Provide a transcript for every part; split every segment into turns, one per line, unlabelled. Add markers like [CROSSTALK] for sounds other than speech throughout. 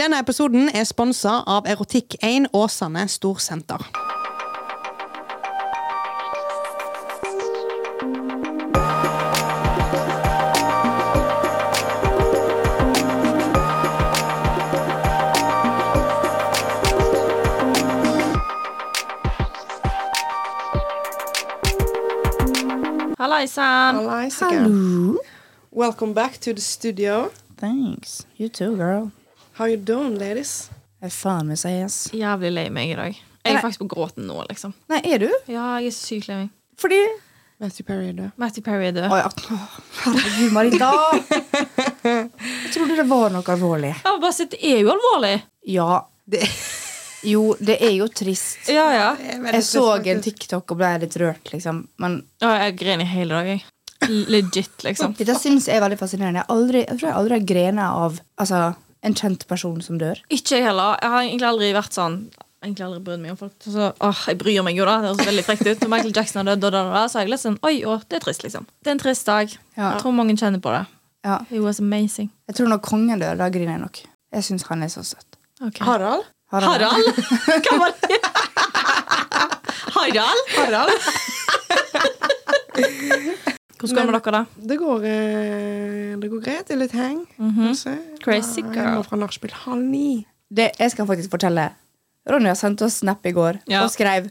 Denne episoden er sponsa av Erotikk1 Åsane Storsenter.
Hallaisann!
Welcome back to the studio.
Thanks. You too, girl.
How you doing, ladies?
Jeg er faen meg så ass.
Jævlig lei meg i dag. Jeg er
Nei.
faktisk på gråten nå, liksom.
Nei, er du?
Ja, jeg er så sykt lei meg.
Fordi
Matthew Perry er død.
Matty Perry er død.
Å ja. Åh, Herregud, Marita. Jeg trodde det var noe alvorlig.
Jeg har bare sett, det er jo alvorlig!
Ja. Det, jo, det er jo trist.
Ja, ja.
Jeg så en TikTok og ble litt rørt, liksom. Men
Ja, jeg grein i hele dag, jeg. Legit, liksom.
dette syns jeg er veldig fascinerende. Jeg, aldri, jeg tror jeg aldri har grena av altså, en kjent person som dør.
Ikke jeg heller. Jeg har egentlig aldri vært sånn Egentlig aldri brydd meg om folk. Så, åh, jeg bryr meg jo, da. Det høres veldig frekt ut. Når Michael Jackson er død, da, da, da, så har jeg litt sånn Oi, å, det er trist, liksom. Det er en trist dag.
Ja.
Jeg tror mange kjenner på det.
Ja.
He was amazing.
Jeg tror når kongen dør, da griner jeg nok. Jeg syns han er så søt.
Ok.
Harald?
Harald? Hva [LAUGHS] var det? Harald?
Harald?
Hvordan går det med dere, da?
Det går, eh, det går greit. Det er litt hang. Se. Ja,
Crazy
Jeg
girl.
må fra nachspiel halv ni.
det, jeg skal faktisk fortelle. Ronja sendte oss snap i går
Ja.
og skrev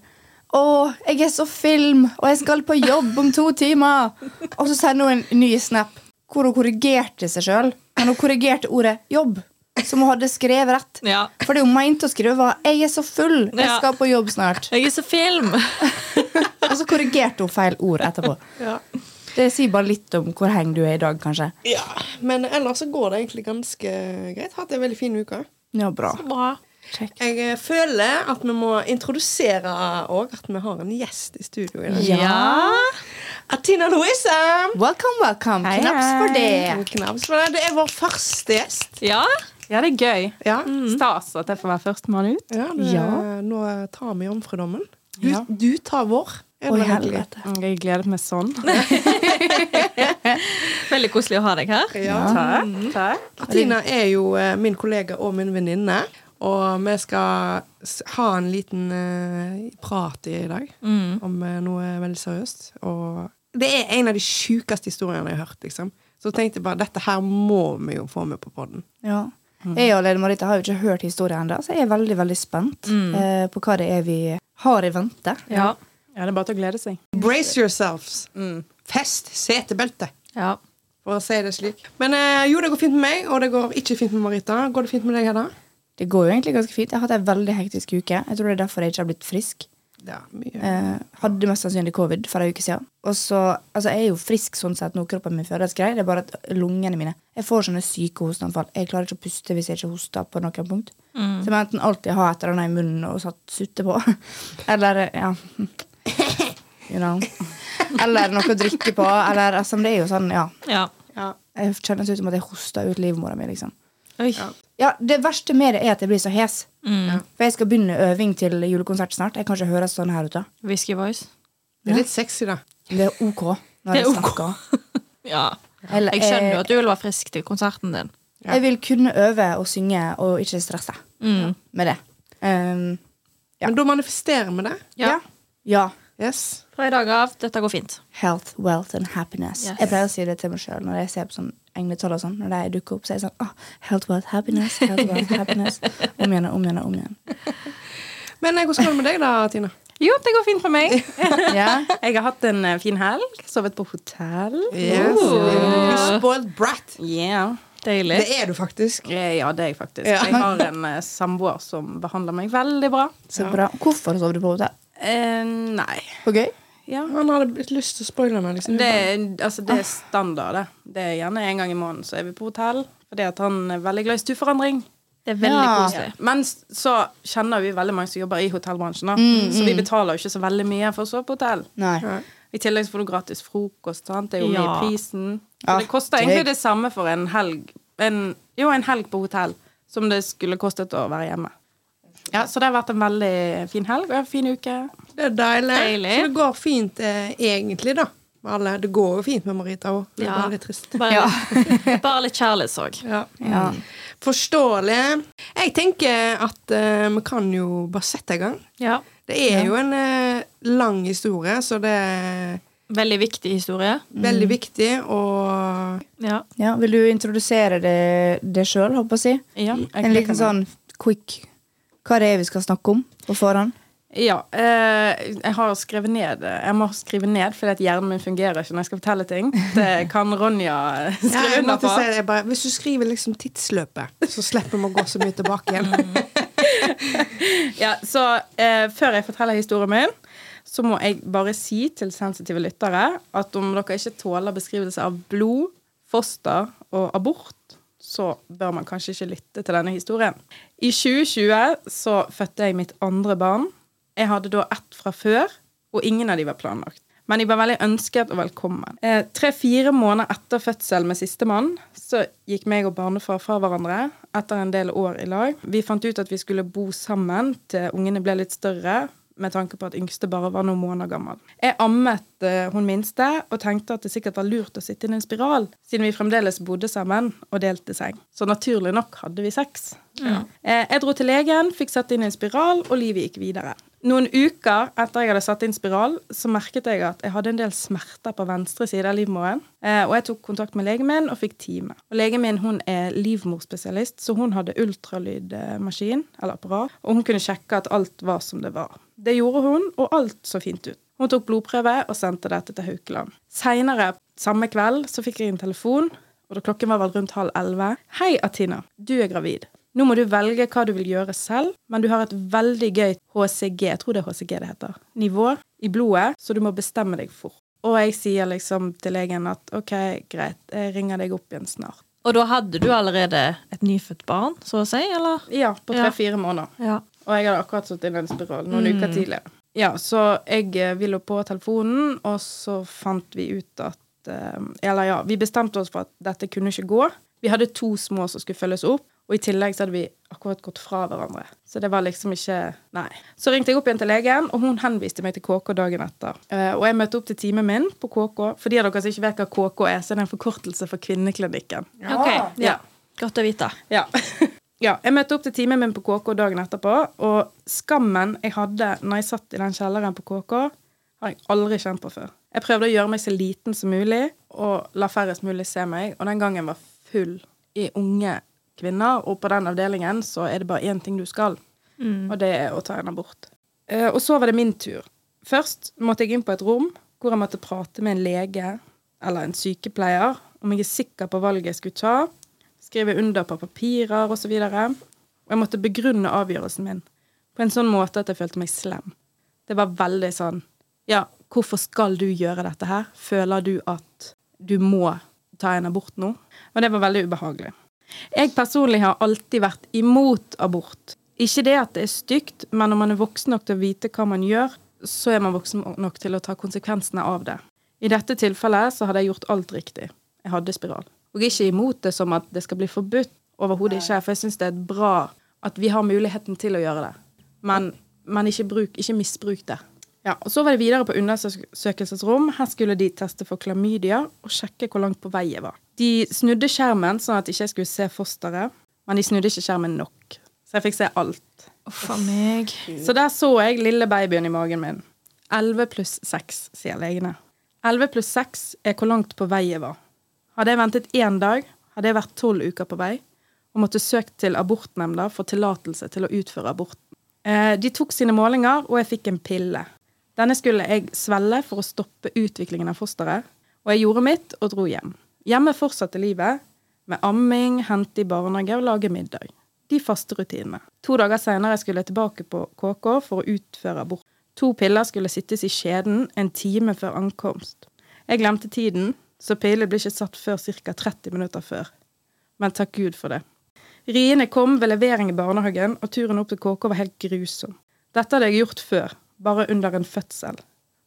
Å, jeg er så film, og jeg skal på jobb om to timer. Og så sender hun en ny snap hvor hun korrigerte seg sjøl. Men hun korrigerte ordet 'jobb', som hun hadde skrevet rett.
Ja.
For det hun mente å skrive, var 'jeg er så full, jeg
Ja.
skal på jobb snart'.
Jeg er så film.
Og så korrigerte hun feil ord etterpå.
Ja.
Det sier bare litt om hvor heng du er i dag, kanskje.
ja. Men ellers så går det egentlig ganske greit. Hatt en veldig fin uke.
Ja, bra.
[LAUGHS] Bra.
Check.
Jeg eh, føler at vi må introdusere òg at vi har en gjest i studio i dag.
Ja.
Athena Louise!
Welcome, welcome.
Hei,
Knaps for det.
En knaps Eh, for deg. Det er vår første gjest.
Ja. Mm.
Ja, det er gøy.
Ja.
Stas
altså.
at jeg får være førstemann ut.
Ja, det,
Mm. Ja.
Nå tar vi jomfrudommen. Du,
Ja.
du tar vår. er
Å,
det egentlig?
helvete.
Jeg gleder meg sånn.
Veldig koselig å ha deg her.
Ja.
Takk. Takk.
Martina er jo eh, min kollega og min venninne. Og vi skal s- ha en liten eh, prat i dag
Mm.
om eh, noe veldig seriøst. Og det er en av de sjukeste historiene jeg har hørt. liksom. Så tenkte jeg bare dette her må vi jo få med på podden.
Ja. Jeg og Lene Marita har jo ikke hørt historien ennå, så jeg er veldig veldig spent eh, på hva det er vi har i vente.
Ja.
Ja, det er bare til å glede seg.
Brace yourselves.
Mm.
Fest setebeltet.
ja.
For å si det slik. Men eh, jo, det går fint med meg, og det går ikke fint med Marita. Går det fint med deg, Hedda?
Det går jo egentlig ganske fint. Jeg har hatt ei veldig hektisk uke. Jeg tror det er derfor jeg ikke har blitt frisk.
Ja, mye.
Eh, hadde mest sannsynlig covid for ei uke siden. Og så, altså Jeg er jo frisk sånn sett nå, kroppen min føles grei. Det er bare at lungene mine Jeg får sånne syke hosteanfall. Jeg klarer ikke å puste hvis jeg ikke hoster på noen punkt. Så jeg må enten alltid ha et eller annet i munnen og satt sutte på. [LAUGHS] Eller ja You know. Eller noe å drikke på. Eller altså, men det er jo sånn, ja.
ja.
Ja.
Jeg kjennes ut som at jeg hoster ut livmora mi, liksom.
Oi.
Ja, Det verste med det er at jeg blir så hes. For jeg skal begynne øving til julekonsert snart. Jeg kan ikke høres sånn her ute.
Whisky voice.
Det er litt sexy, da.
Det er OK. Når
Det er
jeg
ok. [LAUGHS]
snakker.
Ja.
Eller,
Jeg skjønner jo
eh,
at du vil være frisk til konserten din.
Jeg vil kunne øve og synge og ikke stresse
Mm.
med det. Um, Ja.
Men da manifesterer vi det.
ja. ja.
Yes.
Fra i dag av. Dette går fint.
Health, wealth and happiness.
Yes.
Jeg pleier å si det til meg sjøl når jeg ser på sånn engletall og sånn. Når de dukker opp, så er jeg sånn ah, Health, wealth, happiness. Health,
[LAUGHS]
wealth, happiness. Om igjen og om igjen og om igjen.
Men eh, hvordan går det med deg, da, Tina?
Jo, det går fint for [LAUGHS] meg.
Ja.
Jeg har hatt en eh, fin helg. Sovet på hotell.
Yes. You spoiled brat.
Yeah.
Deilig.
Det er du faktisk.
Eh, Ja, det er jeg faktisk.
Ja.
Jeg har en eh, samboer som behandler meg veldig bra.
Så bra. Hvorfor sov du på hotell?
Eh, nei.
På gøy?
Ja.
Han hadde litt lyst til å spoile meg. Liksom.
Det, er- altså, det er standard, det. Det er gjerne en gang i måneden så er vi på hotell. Fordi at han er veldig glad i stueforandring.
Det er veldig
Ja.
koselig.
Men s- så kjenner vi veldig mange som jobber i hotellbransjen, da. så vi betaler jo ikke så veldig mye for å sove på hotell.
Nei.
I tillegg så får du gratis frokost. Sant? Det er jo mye
Ja.
i prisen. Så
Ja,
det koster
det-
egentlig det samme for en helg en, Jo, en helg på hotell som det skulle kostet å være hjemme. Ja, Så det har vært en veldig fin helg og en fin uke.
Det er deilig.
Deilig.
Så det går fint eh, egentlig, da. med alle. Det går jo fint med Marita òg. Det er
Ja.
bare litt trist.
Bare, [LAUGHS] bare litt kjærlighetssorg.
Ja.
Ja.
Forståelig. Jeg tenker at eh, vi kan jo bare sette i gang.
Ja.
Det er jo en eh, lang historie, så det er
Veldig viktig historie.
veldig viktig å
Ja.
Ja, vil du introdusere det, det sjøl, håper jeg å si?
ja.
En liten sånn quick Hva det er vi skal snakke om på forhånd?
Ja. Eh, jeg har skrevet ned Jeg må skrive ned fordi at hjernen min fungerer ikke når jeg skal fortelle ting. Det kan Ronja
Ja,
skrive
jeg
under
måtte
på.
si det. Jeg bare, hvis du skriver liksom tidsløpet, så slipper vi å gå så mye tilbake igjen.
[LAUGHS] Ja, så eh, Før jeg forteller historien min, så må jeg bare si til sensitive lyttere at om dere ikke tåler beskrivelser av blod, foster og abort, så bør man kanskje ikke lytte til denne historien. I 2020 så fødte jeg mitt andre barn. Jeg hadde da ett fra før, og ingen av de var planlagt. Men de var veldig ønsket og velkommen. Eh, Tre-fire måneder etter fødsel med sistemann så gikk meg og barnefar fra hverandre etter en del år i lag. Vi fant ut at vi skulle bo sammen til ungene ble litt større, med tanke på at yngste bare var noen måneder gammel. Jeg ammet eh, hun minste og tenkte at det sikkert var lurt å sitte i en spiral, siden vi fremdeles bodde sammen og delte seng. Så naturlig nok hadde vi sex. Eh, Jeg dro til legen, fikk satt inn en spiral, og livet gikk videre. Noen uker etter jeg hadde satt inn spiral, så merket jeg at jeg hadde en del smerter på venstre side av livmoren. Eh, Og jeg tok kontakt med legen min og fikk time. Og legen min hun er livmorspesialist, så hun hadde ultralydmaskin eller apparat. Og hun kunne sjekke at alt var som det var. Det gjorde hun, og alt så fint ut. Hun tok blodprøve og sendte dette til Haukeland. Seinere samme kveld så fikk jeg en telefon, og da klokken var vel rundt halv elleve. Hei, Atina. Du er gravid. Nå må du velge hva du vil gjøre selv, men du har et veldig gøy HCG, jeg tror det er HCG det heter, nivå i blodet, så du må bestemme deg fort. Og jeg sier liksom til legen at OK, greit, jeg ringer deg opp igjen snart.
Og da hadde du allerede et nyfødt barn, så å si? Eller?
Ja, på
Ja.
tre-fire måneder.
Ja.
Og jeg hadde akkurat satt inn en spiral noen uker tidligere. Ja, så jeg eh, ville på telefonen, og så fant vi ut at eh, Eller ja, vi bestemte oss for at dette kunne ikke gå. Vi hadde to små som skulle følges opp, og i tillegg så hadde vi akkurat gått fra hverandre. Så det var liksom ikke Nei. Så ringte jeg opp igjen til legen, og hun henviste meg til KK dagen etter. Eh, og jeg møtte opp til timen min på KK. For de av dere som ikke vet hva KK er, så er det en forkortelse for Kvinneklinikken.
Ok,
Ja.
Godt å vite.
Ja. [LAUGHS] ja. Jeg møtte opp til timen min på KK dagen etterpå, og skammen jeg hadde når jeg satt i den kjelleren på KK, har jeg aldri kjent på før. Jeg prøvde å gjøre meg så liten som mulig og la færrest mulig se meg, og den gangen var full i unge kvinner, og på den avdelingen så er det bare én ting du skal, og det er å ta en abort. Eh, Og så var det min tur. Først måtte jeg inn på et rom hvor jeg måtte prate med en lege eller en sykepleier om jeg er sikker på valget jeg skulle ta, skrive under på papirer osv. Og jeg måtte begrunne avgjørelsen min på en sånn måte at jeg følte meg slem. Det var veldig sånn Ja, hvorfor skal du gjøre dette her? Føler du at du må ta en abort nå? Og det var veldig ubehagelig. Jeg personlig har alltid vært imot abort. Ikke det at det er stygt, men når man er voksen nok til å vite hva man gjør, så er man voksen nok til å ta konsekvensene av det. I dette tilfellet så hadde jeg gjort alt riktig. Jeg hadde spiral. Og ikke imot det som at det skal bli forbudt. Overhodet ikke. For jeg syns det er bra at vi har muligheten til å gjøre det. Men, men ikke, bruk, ikke misbruk det. Ja, og Så var det videre på undersøkelsesrom. Her skulle de teste for klamydia og sjekke hvor langt på vei jeg var. De snudde skjermen sånn at ikke jeg skulle se fosteret, men de snudde ikke skjermen nok. Så jeg fikk se alt.
Uff a meg.
Så der så jeg lille babyen i magen min. 11 pluss 6, sier legene. 11 pluss 6 er hvor langt på vei jeg var. Hadde jeg ventet én dag, hadde jeg vært tolv uker på vei og måtte søkt til abortnemnda for tillatelse til å utføre aborten. Eh, De tok sine målinger, og jeg fikk en pille. Denne skulle jeg svelge for å stoppe utviklingen av fosteret, og jeg gjorde mitt og dro hjem. Hjemme fortsatte livet med amming, hente i barnehage og lage middag. De faste rutinene. To dager senere skulle jeg tilbake på KK for å utføre abort. To piller skulle sittes i skjeden en time før ankomst. Jeg glemte tiden, så pillene ble ikke satt før ca. 30 minutter før. Men takk Gud for det. Riene kom ved levering i barnehagen, og turen opp til KK var helt grusom. Dette hadde jeg gjort før, bare under en fødsel.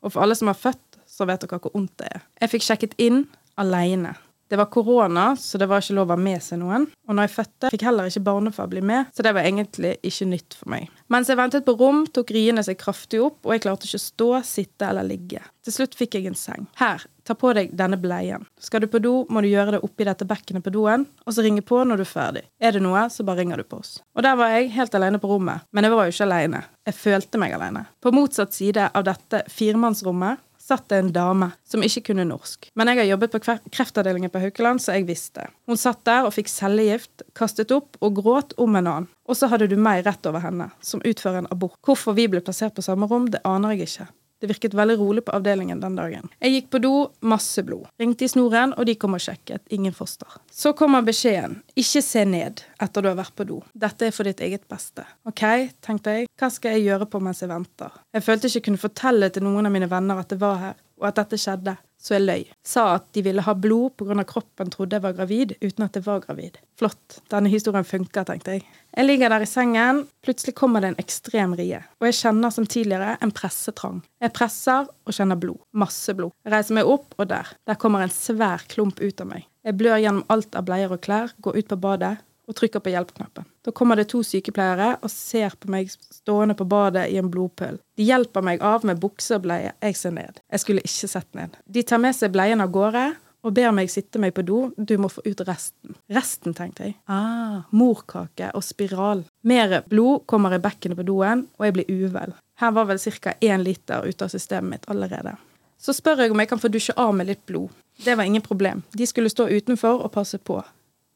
Og for alle som har født, så vet dere hvor vondt det er. Jeg fikk sjekket inn aleine. Det var korona, så det var ikke lov å ha med seg noen. Og når jeg fødte, fikk heller ikke barnefar bli med, så det var egentlig ikke nytt for meg. Mens jeg ventet på rom, tok riene seg kraftig opp, og jeg klarte ikke å stå, sitte eller ligge. Til slutt fikk jeg en seng. Her, ta på deg denne bleien. Skal du på do, må du gjøre det oppi dette bekkenet på doen, og så ringe på når du er ferdig. Er det noe, så bare ringer du på oss. Og der var jeg helt alene på rommet, men jeg var jo ikke alene. Jeg følte meg alene. På motsatt side av dette firemannsrommet satt det en dame som ikke kunne norsk. Men jeg har jobbet på kre- kreftavdelingen på Haukeland, så jeg visste. Hun satt der og fikk cellegift, kastet opp og gråt om en annen. Og så hadde du meg rett over henne, som utfører en abort. Hvorfor vi ble plassert på samme rom, det aner jeg ikke. Det virket veldig rolig på avdelingen den dagen. Jeg gikk på do, masse blod. Ringte i snoren, og de kom og sjekket. Ingen foster. Så kommer beskjeden. Ikke se ned etter du har vært på do. Dette er for ditt eget beste. Ok, tenkte jeg. Hva skal jeg gjøre på mens jeg venter? Jeg følte ikke jeg kunne fortelle til noen av mine venner at det var her, og at dette skjedde. Så jeg løy. Sa at de ville ha blod pga. kroppen trodde jeg var gravid, uten at jeg var gravid. Flott. Denne historien funker, tenkte jeg. Jeg ligger der i sengen. Plutselig kommer det en ekstrem rie. Og jeg kjenner som tidligere en pressetrang. Jeg presser og kjenner blod. Masse blod. Jeg reiser meg opp, og der. Der kommer en svær klump ut av meg. Jeg blør gjennom alt av bleier og klær, går ut på badet og trykker på hjelpknappen. Da kommer det to sykepleiere og ser på meg stående på badet i en blodpøl. De hjelper meg av med bukse og bleie. Jeg ser ned. Jeg skulle ikke sett ned. De tar med seg bleien av gårde og ber meg sitte meg på do. Du må få ut resten. Resten, tenkte jeg. Ah, morkake og spiral. Mer blod kommer i bekkenet på doen, og jeg blir uvel. Her var vel ca. én liter ute av systemet mitt allerede. Så spør jeg om jeg kan få dusje av med litt blod. Det var ingen problem. De skulle stå utenfor og passe på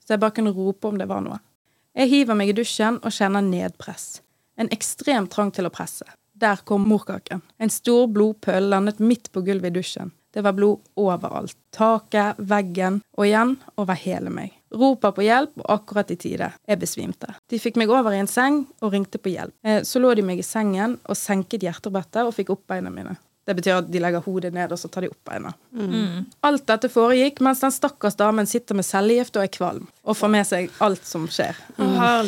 så jeg bare kunne rope om det var noe. Jeg hiver meg i dusjen og kjenner nedpress. En ekstrem trang til å presse. Der kom morkaken. En stor blodpøl landet midt på gulvet i dusjen. Det var blod overalt. Taket, veggen og igjen over hele meg. Roper på hjelp, og akkurat i tide. Jeg besvimte. De fikk meg over i en seng og ringte på hjelp. Eh, Så lå de meg i sengen og senket hjertebrettet og fikk opp beina mine. Det betyr at de legger hodet ned, og så tar de opp beina. Alt dette foregikk mens den stakkars damen sitter med cellegift og er kvalm, og får med seg alt som skjer.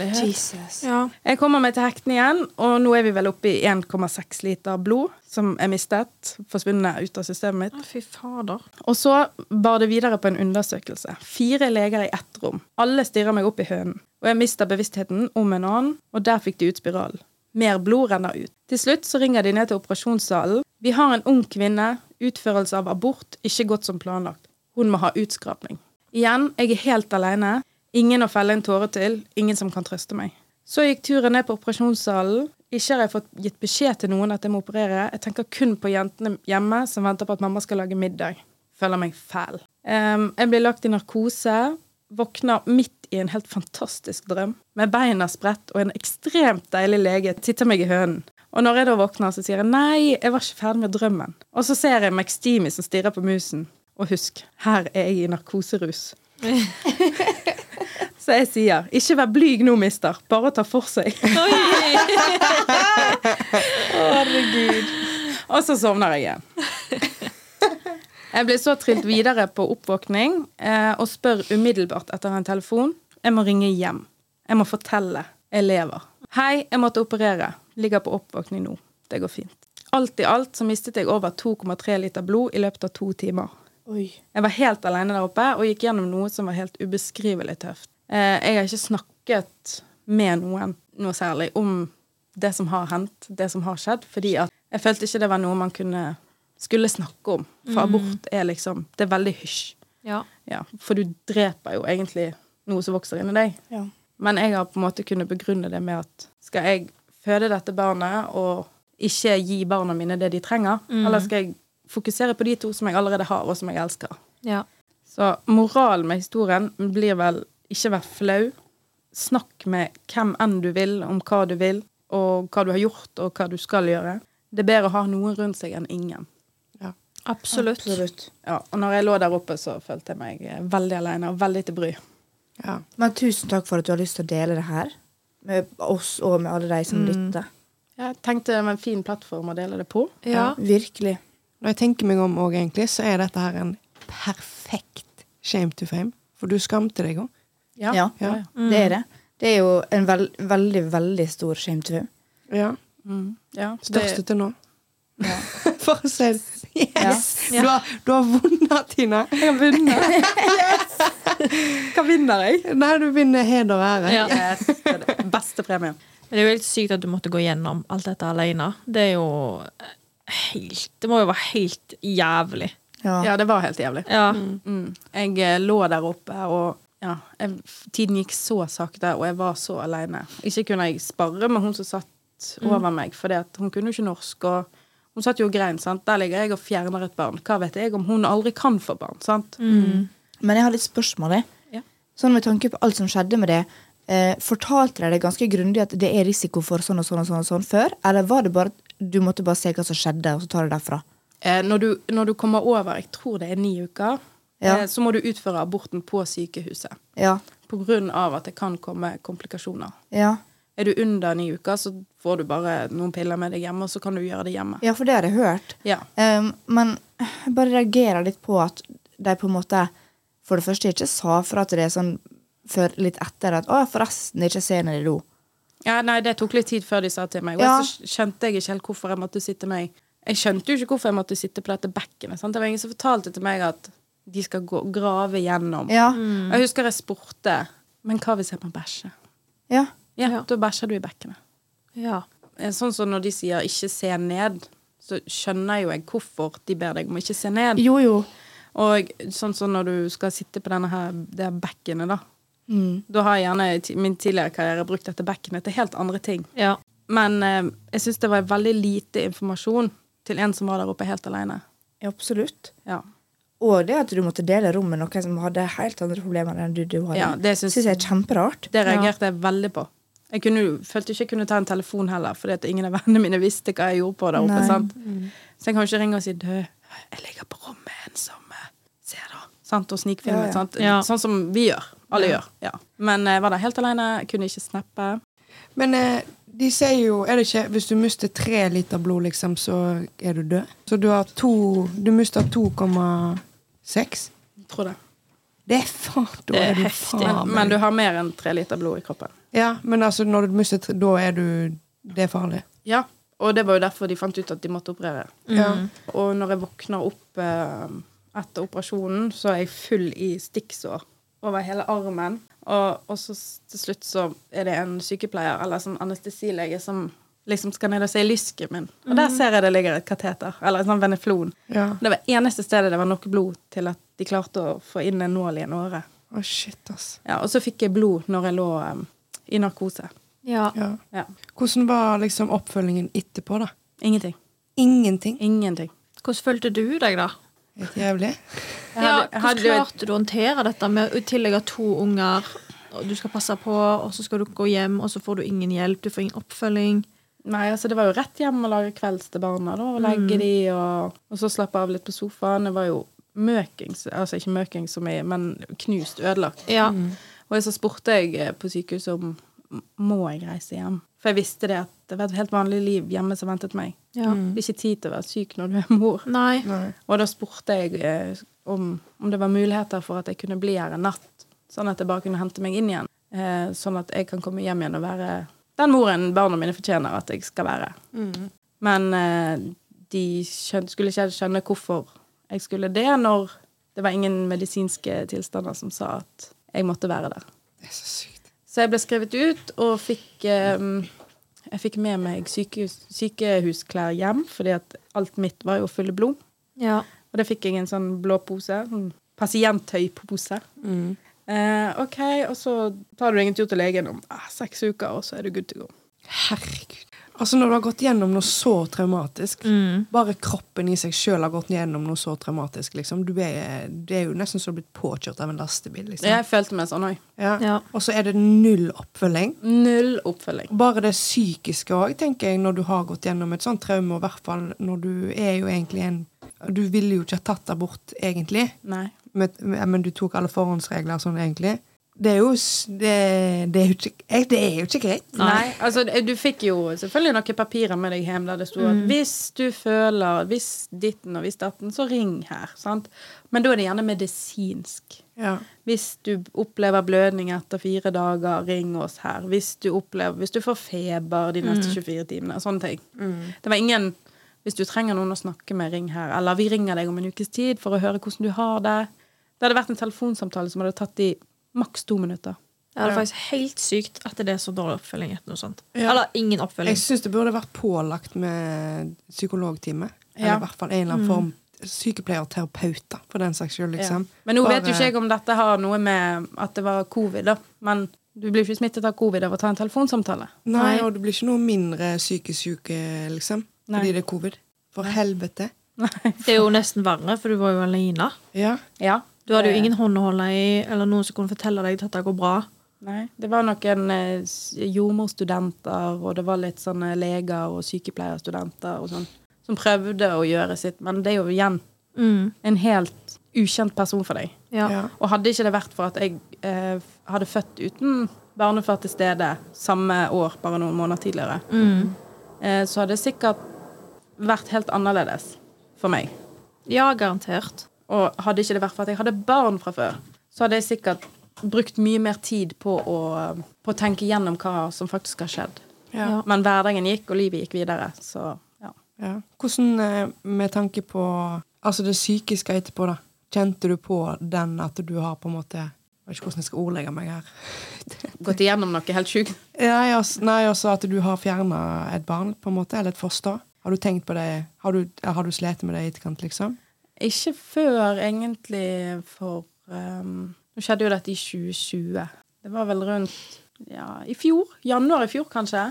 Jesus.
Ja.
Jeg kommer meg til hekten igjen, og nå er vi vel oppe i 1,6 liter blod som er mistet, forsvunnet ut av systemet mitt.
Å, fy fader.
Og så bar det videre på en undersøkelse. Fire leger i ett rom. Alle stirrer meg opp i hønen. Og jeg mister bevisstheten om en annen, og der fikk de ut spiralen. Mer blod renner ut. Til slutt så ringer de ned til operasjonssalen. Vi har en ung kvinne. Utførelse av abort ikke gått som planlagt. Hun må ha utskrapning. Igjen, jeg er helt alene. Ingen å felle en tåre til. Ingen som kan trøste meg. Så gikk turen ned på operasjonssalen. Ikke har jeg fått gitt beskjed til noen at jeg må operere. Jeg tenker kun på jentene hjemme som venter på at mamma skal lage middag. Føler meg fæl. Ehm, jeg blir lagt i narkose. Våkner midt i en helt fantastisk drøm. Med beina spredt og en ekstremt deilig lege titter meg i hønen. Og når jeg da våkner, så sier jeg nei, jeg var ikke ferdig med drømmen. Og så ser jeg McSteamy som stirrer på musen. Og husk, her er jeg i narkoserus. Så jeg sier, ikke vær blyg nå, mister. Bare ta for seg. [LAUGHS] Herregud. Og så sovner jeg igjen. Jeg blir så trilt videre på oppvåkning eh, og spør umiddelbart etter en telefon. Jeg må ringe hjem. Jeg må fortelle. Jeg lever. Hei, jeg måtte operere. Ligger på oppvåkning nå. Det går fint. Alt i alt så mistet jeg over 2,3 liter blod i løpet av to timer.
Oi.
Jeg var helt alene der oppe og gikk gjennom noe som var helt ubeskrivelig tøft. Eh, Jeg har ikke snakket med noen noe særlig om det som har hendt, det som har skjedd, fordi at jeg følte ikke det var noe man kunne skulle snakke om. For abort er liksom Det er veldig hysj.
Ja.
Ja, for du dreper jo egentlig noe som vokser inni deg.
Ja.
Men jeg har på en måte kunnet begrunne det med at skal jeg føde dette barnet og ikke gi barna mine det de trenger, eller skal jeg fokusere på de to som jeg allerede har, og som jeg elsker?
ja.
Så moralen med historien blir vel ikke vær flau. Snakk med hvem enn du vil om hva du vil, og hva du har gjort, og hva du skal gjøre. Det er bedre å ha noen rundt seg enn ingen.
Absolutt.
Ja, og når jeg lå der oppe, så følte jeg meg eh, veldig alene og veldig til bry.
Ja.
Men tusen takk for at du har lyst til å dele det her med oss og med alle de som lytter.
Jeg tenkte det var en fin plattform å dele det på.
Ja.
Virkelig.
Når jeg tenker meg om òg, egentlig, så er dette her en perfekt shame to fame. For du skamte deg òg.
Ja.
Ja.
Det er det. Det er jo en vel, veldig, veldig stor shame to you.
Ja.
Mm. ja.
Største til nå. [LAUGHS]
Ja.
For å si det. Yes! Du, har, du har vunnet, Tina.
jeg har vunnet. Hva vinner jeg?
[LAUGHS] Nei, du vinner heder og ære.
[LAUGHS]
Ja.
Yes, det er det beste premien.
Men det er jo helt sykt at du måtte gå gjennom alt dette alene. Det er jo eh, helt Det må jo være helt jævlig.
Ja.
Ja, det var helt jævlig.
Ja.
Mm. Jeg eh, lå der oppe, og ja, jeg, tiden gikk så sakte, og jeg var så alene. Ikke kunne jeg sparre med hun som satt over meg, for hun kunne jo ikke norsk. og hun satt jo og grein, sant? Der ligger jeg og fjerner et barn. Hva vet jeg om hun aldri kan få barn? sant?
Men jeg har litt spørsmål. Jeg.
Ja.
Sånn med tanke på alt som skjedde med det, eh, fortalte de deg ganske grundig at det er risiko for sånn og sånn og sånn, og sånn før? Eller var det bare at du måtte bare se hva som skjedde, og så ta det derfra?
Eh, når, du, når du kommer over, jeg tror det er ni uker,
Ja.
eh, så må du utføre aborten på sykehuset.
Ja.
På grunn av at det kan komme komplikasjoner.
Ja,
Er du under ni uker, så får du bare noen piller med deg hjemme, og så kan du gjøre det hjemme.
ja for det har jeg hørt.
Ja.
Um, men jeg bare reagerer litt på at de på en måte for det første ikke sa fra til det sånn før litt etter at 'Å, forresten, ikke se ned i do'.
Ja, nei, Det tok litt tid før de sa til meg. Og
Ja.
så skjønte jeg ikke helt hvorfor jeg måtte sitte meg Jeg skjønte jo ikke hvorfor jeg måtte sitte på dette bekkenet. sant? Det var ingen som fortalte til meg at de skal gå, grave gjennom.
Ja.
Jeg husker jeg spurte Men hva hvis jeg må bæsje?
ja.
Ja, Da bæsjer du i bekkenet.
Ja.
Eh, Sånn som når de sier 'ikke se ned', så skjønner jo jeg hvorfor de ber deg om å ikke se ned.
Jo, jo.
Og sånn som når du skal sitte på denne her, det her bekkenet, da.
Mm.
Da har jeg gjerne i ti- min tidligere karriere brukt dette bekkenet til helt andre ting.
ja.
Men eh, jeg syns det var veldig lite informasjon til en som var der oppe helt alene.
Ja, Absolutt.
Ja.
Og det at du måtte dele rom med noen som hadde helt andre problemer enn du, du hadde,
Ja, det syns-
jeg er kjemperart.
Det reagerte jeg veldig på. Jeg kunne, jo- følte ikke jeg kunne ta en telefon heller, fordi at ingen av vennene mine visste hva jeg gjorde på der
Nei.
oppe.
Mm.
Sant? Så jeg kan jo ikke ringe og si du, jeg ligger på rommet ensom. eh, Se, da. Sant? Og snikfilme.
Ja, ja.
Sant?
Ja.
Sånn som vi gjør. Alle gjør. Ja. Men eh, jeg var der helt alene, kunne ikke snappe.
Men eh, de sier jo Er det ikke Hvis du mister tre liter blod, liksom, så er du død? Så du har to Du mister 2,6?
Tror det.
Det er faen Da
Det er
er, du
heftig.
faen
Men, men du har mer enn tre liter blod i kroppen.
Ja, men altså, når du mister tre, da er du Det er farlig.
Ja, og det var jo derfor de fant ut at de måtte operere.
Mm.
Ja.
Og når jeg våkner opp eh, etter operasjonen, så er jeg full i stikksår over hele armen. Og, og så s- til slutt så er det en sykepleier eller sånn anestesilege som liksom skal ned og se i lysken min. Og
Mm.
der ser jeg det ligger et kateter, eller en sånn veneflon.
Ja.
Det var eneste stedet det var nok blod til at de klarte å få inn en nål i en åre.
Å, shit, ass.
Ja, og så fikk jeg blod når jeg lå eh, i narkose.
Ja.
Ja.
Ja.
Hvordan var liksom oppfølgingen etterpå, da?
Ingenting.
Ingenting.
Ingenting.
Hvordan følte du deg, da?
Helt jævlig.
Jeg hadde-
ja,
jeg
hvordan
hadde jo et-
klarte du å håndtere dette med å tillegge to unger, og du skal passe på, og så skal du gå hjem, og så får du ingen hjelp, du får ingen oppfølging.
Nei, altså det var jo rett hjem og lage kvelds til barna, da, og legge de, og, og så slappe av litt på sofaen. Jeg var jo møkings, altså ikke møkings som jeg, men knust, ødelagt.
Ja.
Og så spurte jeg eh, på sykehuset om m- må jeg reise hjem. For jeg visste det at det var et helt vanlig liv hjemme som ventet meg.
Ja.
Det er ikke tid til å være syk når du er mor.
Nei.
Og da spurte jeg eh, om, om det var muligheter for at jeg kunne bli her en natt, sånn at jeg bare kunne hente meg inn igjen. Eh, sånn at jeg kan komme hjem igjen og være den moren barna mine fortjener at jeg skal være. Men eh, de skjøn, skulle ikke helt skjønne hvorfor jeg skulle det, når det var ingen medisinske tilstander som sa at jeg måtte være der.
Det er så sykt.
Så jeg ble skrevet ut og fikk eh, Jeg fikk med meg sykehus, sykehusklær hjem, fordi at alt mitt var jo fulle blod.
Ja.
Og det fikk jeg en sånn blå pose. Sånn pasienthøypose. Eh, OK, og så tar du ingen tur til legen om ah, seks uker, og så er du good to go.
Herregud. Altså, når du har gått gjennom noe så traumatisk Bare kroppen i seg sjøl har gått gjennom noe så traumatisk, liksom. Du er, det er jo nesten så du har blitt påkjørt av en lastebil, liksom.
Jeg følte meg sånn òg.
Ja.
Ja.
Og så er det null oppfølging.
Null oppfølging.
Bare det psykiske òg, tenker jeg, når du har gått gjennom et sånt traume, og i hvert fall når du er jo egentlig en Du ville jo ikke ha tatt abort, egentlig,
Nei.
men, men du tok alle forhåndsregler sånn, egentlig. Det er jo s- Det, det, er, jo ikke, eh, det er jo ikke greit.
Nei. altså Du fikk jo selvfølgelig noen papirer med deg hjem der det sto at hvis du føler Hvis ditten og hvis datten, så ring her. sant? Men da er det gjerne medisinsk.
Ja.
Hvis du opplever blødning etter fire dager, ring oss her. Hvis du, opplever, hvis du får feber de neste 24 timene. Sånne ting. Det var ingen Hvis du trenger noen å snakke med, ring her. Eller vi ringer deg om en ukes tid for å høre hvordan du har det. Det hadde vært en telefonsamtale som hadde tatt i maks to minutter.
Det er faktisk helt sykt at det er så dårlig oppfølging etter noe sånt.
Ja.
Eller ingen oppfølging.
Jeg syns det burde vært pålagt med psykologtime. Eller
Ja. Mm.
i hvert fall en eller annen form sykepleier-terapeuter, for den saks skyld. Liksom.
Ja. Men nå
Bare-
vet jo ikke jeg om dette har noe med at det var covid, da. Men du blir jo ikke smittet av covid av å ta en telefonsamtale.
Nei, og du blir ikke noe mindre psykisk syk, eh, liksom.
Nei.
Fordi det er covid. For helvete.
Det er jo nesten verre, for du var jo alene.
Ja.
Ja.
Du hadde jo ingen hånd å holde i, eller noen som kunne fortelle deg at dette går bra.
Nei. Det var noen eh, s- jordmorstudenter, og det var litt sånne leger og sykepleierstudenter og sånn, som prøvde å gjøre sitt. Men det er jo igjen
Mm.
en helt ukjent person for deg.
Ja.
Ja.
Og hadde ikke det vært for at jeg eh, hadde født uten barnefar til stede samme år, bare noen måneder tidligere,
Mm.
eh, så hadde det sikkert vært helt annerledes for meg.
ja, garantert.
Og hadde ikke det vært for at jeg hadde barn fra før, så hadde jeg sikkert brukt mye mer tid på å, på å tenke gjennom hva som faktisk har skjedd.
Ja.
Ja.
Men hverdagen gikk, og livet gikk videre. Så ja.
Ja. Hvordan, eh, med tanke på altså det psykiske etterpå, da. Kjente du på den at du har på en måte Jeg vet ikke hvordan jeg skal ordlegge meg [LAUGHS] her.
gått igjennom noe helt sjukt.
Nei, altså, nei, altså at du har fjerna et barn, på en måte, eller et foster. Har du tenkt på det? Har du, har du slitt med det i etterkant, liksom?
Ikke før egentlig for ehm, Nå skjedde jo dette i 2020. Det var vel rundt ja, i fjor. Januar i fjor, kanskje.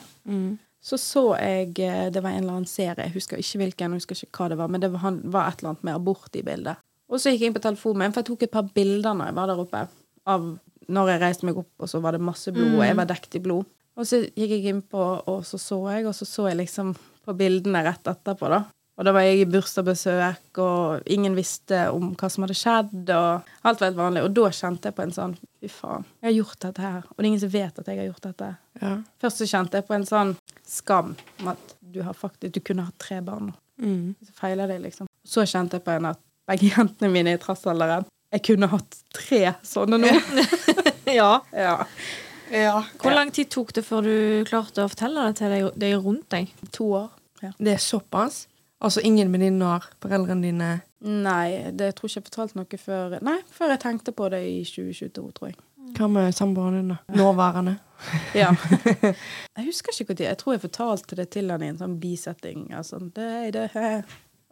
Så så jeg eh, Det var en eller annen serie, jeg husker ikke hvilken, jeg husker ikke hva det var, men det var, han, var et eller annet med abort i bildet. Og så gikk jeg inn på telefonen min, for jeg tok et par bilder når jeg var der oppe. Av når jeg reiste meg opp, og så var det masse blod, og jeg var dekt i blod. Og så gikk jeg inn på, og så så jeg, og så så jeg liksom på bildene rett etterpå, da. Og da var jeg i bursdagsbesøk, og ingen visste om hva som hadde skjedd, og alt var helt vanlig. Og da kjente jeg på en sånn Fy faen, jeg har gjort dette her, og det er ingen som vet at jeg har gjort dette.
Ja.
Først så kjente jeg på en sånn skam om at du, har faktisk, du kunne hatt tre barn.
Mm.
Så feiler det, liksom. Så kjente jeg på en at begge jentene mine i trassalderen Jeg kunne hatt tre sånne nå.
ja.
[LAUGHS] ja.
Hvor lang tid tok det før du klarte å fortelle det til deg- de rundt deg?
To år. Ja.
Det er såpass? Altså ingen venninner, foreldrene dine
Nei, det jeg tror ikke jeg fortalte noe før Nei, før jeg tenkte på det i 2022, tror jeg.
Hva med samboeren din, da? Nåværende?
Ja. Jeg husker ikke når. Jeg tror jeg fortalte det til han i en sånn bisetting. Altså, det, er det, hæ.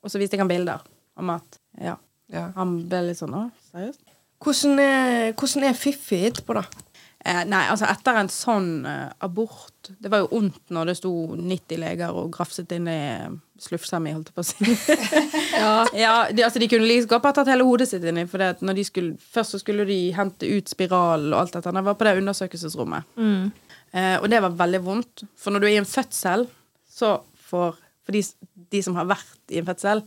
Og så viste jeg han bilder om at Ja.
Ja.
Han ble litt sånn Å, seriøst?
Hvordan er, hvordan er Fiffi etterpå, da?
Eh, nei, altså etter en sånn eh, abort Det var jo ondt når det sto 90 leger og grafset inn i eh, slufsemi, holdt jeg på å si. ja, de, altså De kunne like godt bare tatt hele hodet sitt inn i, for det at når de skulle, først så skulle de hente ut spiralen og alt dette. Jeg var på det undersøkelsesrommet.
Mm.
Eh, og det var veldig vondt. For når du er i en fødsel, så får For de, de som har vært i en fødsel,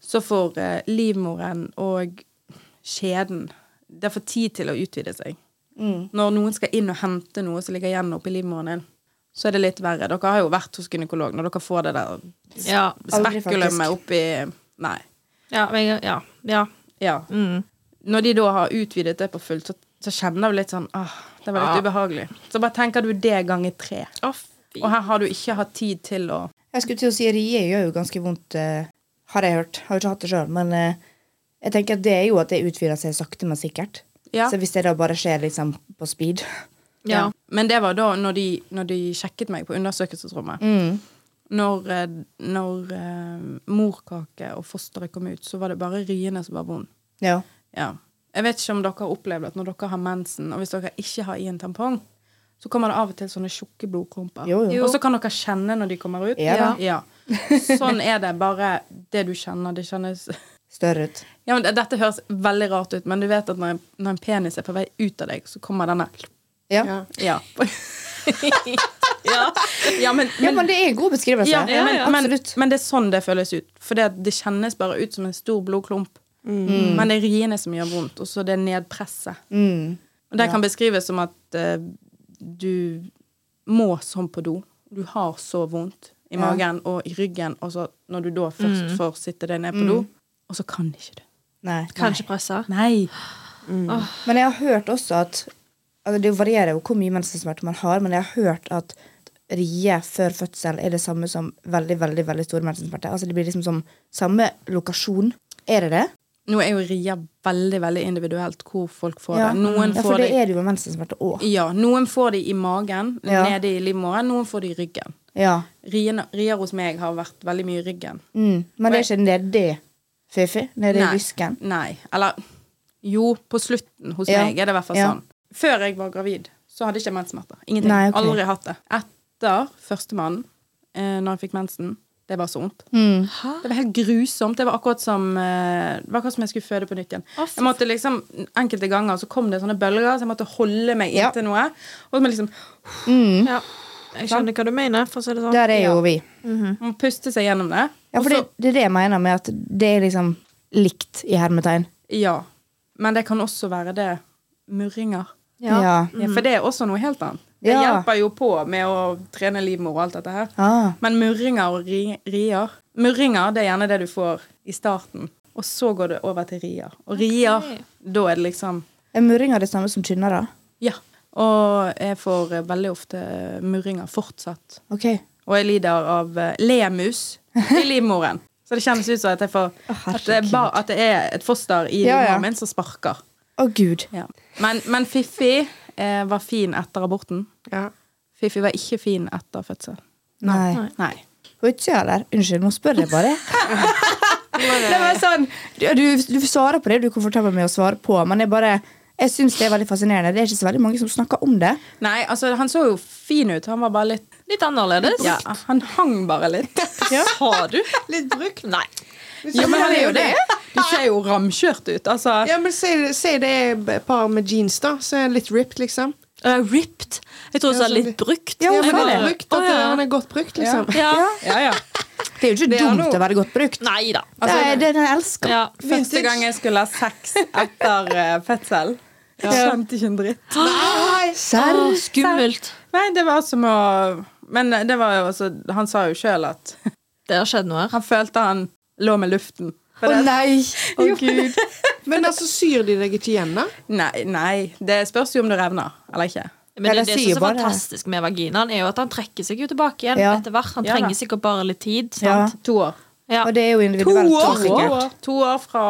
så får eh, livmoren og skjeden Det får tid til å utvide seg. Når noen skal inn og hente noe som ligger igjen oppi livmoren din, så er det litt verre. Dere har jo vært hos gynekolog når dere får det der
Ja.
Aldri,
spekulummet oppi Nei.
Ja. Men, jeg- ja. ja.
Ja.
Mm.
Når de da har utvidet det på fullt, så, så kjenner du litt sånn Åh, det var litt ubehagelig. Så bare tenker du det ganger tre.
Å, fy.
Og her har du ikke hatt tid til å
Jeg skulle til å si rie gjør jo ganske vondt, eh, har jeg hørt. Har jo ikke hatt det sjøl, men eh, jeg tenker at det er jo at det utvider seg sakte, men sikkert.
Ja.
Så hvis det da bare skjer liksom på speed
Ja.
Men det var da når de, når de sjekket meg på undersøkelsesrommet.
Mm.
Når, eh, når eh, morkake og fosteret kom ut, så var det bare riene som var vond.
Ja.
Ja. Jeg vet ikke om dere har opplevd at når dere har mensen, og hvis dere ikke har i en tampong, så kommer det av og til sånne tjukke blodklumper.
Jo, jo.
Og så kan dere kjenne når de kommer ut.
Ja da. [LAUGHS]
Ja. Sånn er det. Bare det du kjenner, det kjennes
Større ut.
ja, men det- Dette høres veldig rart ut, men du vet at når en, når en penis er på vei ut av deg, så kommer denne
Ja. Ja.
Ja.
Ja. [LAUGHS] ja, men, men,
men det er en god beskrivelse.
ja, men, men,
Absolutt.
men det er sånn det føles ut. For det, det kjennes bare ut som en stor blodklump. Men det er riene som gjør vondt, og så det er nedpresset.
Mm.
Og det kan beskrives som at eh, du må sånn på do. Du har så vondt i magen og i ryggen, og så når du da først får sitte deg ned på do, og så kan ikke du.
Nei.
Kanskje pressa.
Nei.
Men jeg har hørt også at altså Det varierer jo hvor mye mensensmerter man har, men jeg har hørt at rie før fødsel er det samme som veldig veldig, veldig store mensensmerter. Altså det blir liksom som samme lokasjon. Er det det?
Nå er jo ria veldig veldig individuelt hvor folk får
Ja.
det. Noen
ja, for
får
det
det,
er det jo med mensensmerter òg.
ja, noen får det i magen,
Ja.
nede i livmoren. Noen får det i ryggen.
Ja.
Riene- Rier hos meg har vært veldig mye i ryggen.
Mm. Men det er ikke nedi fifi? Nedi i lysken?
Nei. Eller jo, på slutten hos
Ja.
meg er det i hvert fall
Ja.
sånn. Før jeg var gravid, så hadde jeg ikke menssmerter. Ingenting.
Nei, ok.
Aldri hatt det. Etter førstemann, eh, når jeg fikk mensen, det var så vondt.
Mm.
Det var helt grusomt. Det var akkurat som eh, Det var akkurat som jeg skulle føde på nytt igjen. Jeg måtte liksom, Enkelte ganger så kom det sånne bølger, så jeg måtte holde meg
Ja.
inntil noe. Og så må jeg liksom
Mm.
Ja. Jeg skjønner hva du mener, for å si det sånn.
Der er jo vi.
må puste seg gjennom det.
Ja, for det, det er det jeg mener med at det er liksom likt i hermetegn.
Ja. Men det kan også være det murringer.
Ja.
Ja, for det er også noe helt annet. Det
Mm. Ja.
hjelper jo på med å trene livmor og alt dette her.
Ah.
Men murringer og ri- rier Murringer det er gjerne det du får i starten. Og så går det over til rier. Og rier, da er det liksom
Er murringer det samme som kynnere?
Ja. Og jeg får eh, veldig ofte murringer fortsatt.
Ok.
Og jeg lider av eh, [LAUGHS] lemus i livmoren. Så det kjennes ut som at, jeg får, at, det, er ba, at det er et foster i
Ja, ja.
livmoren min som sparker.
Å, gud.
Ja. Men, men Fiffi eh, var fin etter aborten.
Ja.
Fiffi var ikke fin etter fødsel.
Nei.
Nei.
På utsida der. Unnskyld, nå spør jeg bare. det var sånn, du, du, du svarer på det du er komfortabel med å svare på, men jeg bare jeg syns det er veldig fascinerende. Det er ikke så veldig mange som snakker om det.
Nei, altså han så jo fin ut. Han var bare litt
Litt annerledes.
ja, Han hang bare litt.
Sa du? Litt brukt? Nei.
Jo, men han er jo det. Du ser jo ramkjørt ut. Altså
ja, men si, si det er et par med jeans, da, så er det litt ripped, liksom.
Eh, ripped. Jeg tror jeg
Ja,
sa
sånn
litt
litt-
brukt.
Ja, men
Jeg
godt
bare-
brukt, at
Å, ja.
den er godt brukt, liksom.
ja.
Ja, ja.
Det er jo ikke
Det er
dumt
noe-
å være godt brukt.
Nei da.
det er det jeg elsker.
Ja.
Første gang jeg skulle ha sex etter eh, fødsel. Jeg skjønte ikke en dritt.
Nei,
Serr?
Å, Skummelt.
Nei, det var som å Men det var jo altså Han sa jo sjøl at
Det har skjedd noe her.
han følte han lå med luften.
Å nei! Å gud.
Men altså, syr de deg ikke igjen, da?
Nei, nei. Det spørs jo om du revner eller ikke.
Men
Ja,
det, det
det
som
sier
er så
bare-
fantastisk med vaginaen, er jo at han trekker seg jo tilbake igjen
Ja.
etter hvert. Han
Ja da.
trenger sikkert bare litt tid.
Ja.
Sant?
To år.
Ja.
Og det er jo
To
individuelt.
år,
sikkert.
To år fra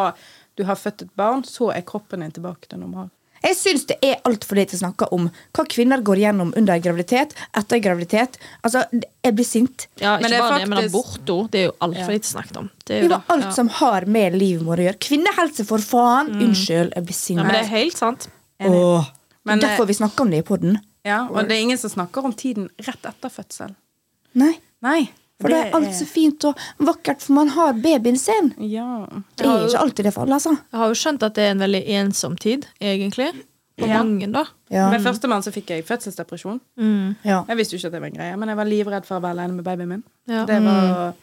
du har født et barn, så er kroppen din tilbake til normal.
Jeg syns det er altfor lite snakka om hva kvinner går gjennom under graviditet, etter graviditet. Altså, jeg blir sint.
Ja,
Men
ikke
det er
bare det, men
faktisk-
aborto. Det er jo altfor lite snakket om. Det er
Det
jo
var
det.
alt
Ja.
som har med livmor å gjøre. Kvinnehelse, for faen! Unnskyld, jeg blir
ja, men
sint.
det er helt sant.
Åh.
Men, eh,
Derfor vi snakker om det i poden.
Ja, og det er ingen som snakker om tiden rett etter fødsel.
Nei.
Nei.
For det er alt så fint og vakkert, for man har babyen sin.
Ja.
Det er ikke alltid det for alle, altså.
Jeg har jo skjønt at det er en veldig ensom tid, egentlig. For
Ja.
mange, da.
Ja.
Med førstemann så fikk jeg fødselsdepresjon.
Ja.
Jeg visste jo ikke at det var en greie, men jeg var livredd for å være alene med babyen min.
Ja.
Det,
Mm.
var,